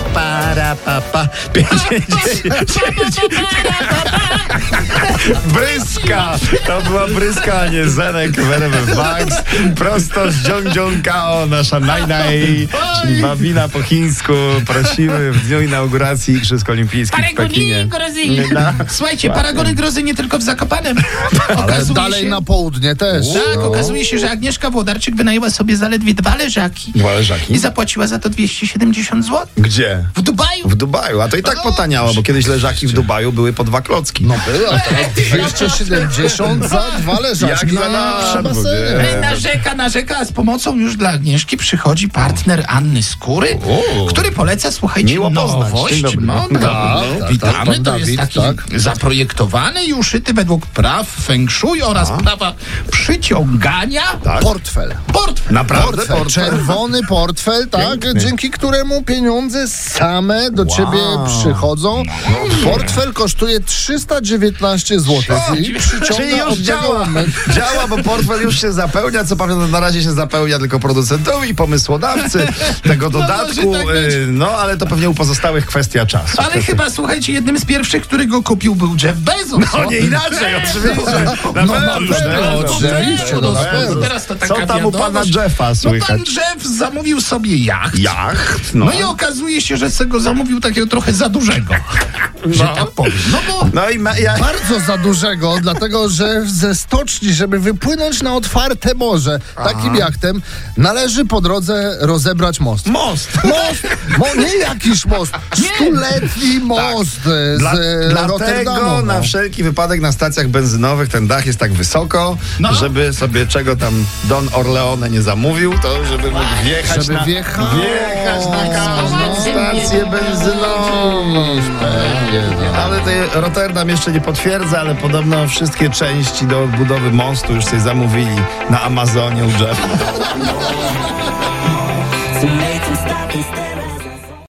para, pa, pa. 59. Bryska! To była Bryska, a nie Zenek w RMF Max. Prosto z Jong Kao, nasza Nai Nai, czyli babina po chińsku. Prosimy w dniu inauguracji Igrzysk Olimpijskich w Pekinie. Paragoni grozy. No. Słuchajcie, paragony grozy nie tylko w Zakopanem. Ale Okazuje dalej się, na południe też. Tak, No. okazuje się, że Agnieszka Włodarczyk wynajęła sobie zaledwie dwa leżaki Dwa leżaki. i zapłaciła za to 270 zł. Gdzie? W Dubaju. W Dubaju, a to i tak potaniało, bo kiedyś leżaki w Dubaju były po dwa klocki. No była, teraz 270 za dwa leżaczki Jak za na darmo, basenie. Ej, e, Narzeka, narzeka, a z pomocą już dla Agnieszki przychodzi partner Anny Skóry, O. który poleca, słuchajcie, Miło poznać. Dzień nowość. dobry. No, Dzień tak, dobry. Tak, tak, witamy, pan to jest Dawid, taki tak. zaprojektowany i uszyty według praw feng shui oraz prawa przyciągania Tak. Portfel. portfel. Naprawdę? Portfel, czerwony portfel, tak, dzięki któremu pieniądze same do ciebie przychodzą. Portfel kosztuje 319 zł i Czyli przyciąga już od tego działa. momentu. Działa, bo portfel już się zapełnia. Co pamiętam, na razie się zapełnia tylko producentowi i pomysłodawcy tego dodatku. może tak y, no, ale to pewnie u pozostałych kwestia czasu. Ale chyba, słuchajcie, jednym z pierwszych, który go kupił był Jeff Bezos. No nie inaczej, oczywiście. Na No, na pewno, pewno, no, oczywiście, no, no, no, na pewno. Teraz to taka Co tam u pana wiadomość. Jeffa No pan słychać? Jeff zamówił sobie jacht. Jacht, no. No i okazuje się, że se go zamówił takiego trochę za dużego. Że tak powiem. No bo No i ma, ja, Bardzo za dużego, dlatego że ze stoczni, żeby wypłynąć na otwarte morze takim jachtem, należy po drodze rozebrać most. most. Most! Mo- nie jakiś most! Stuletni most e, z Tak. Dla, e, Rotterdamu. dlatego no. na wszelki wypadek na stacjach benzynowych ten dach jest tak wysoko, No. żeby sobie czego tam Don Orleone nie zamówił, to żeby mógł wjechać Żeby na, wjechać. wjechać na każdą stację benzynową. E, Ale ty, Rotterdam jeszcze nie potwierdza, ale podobno wszystkie części do odbudowy mostu już sobie zamówili na Amazonie u Jeffa. to make them stop and stare.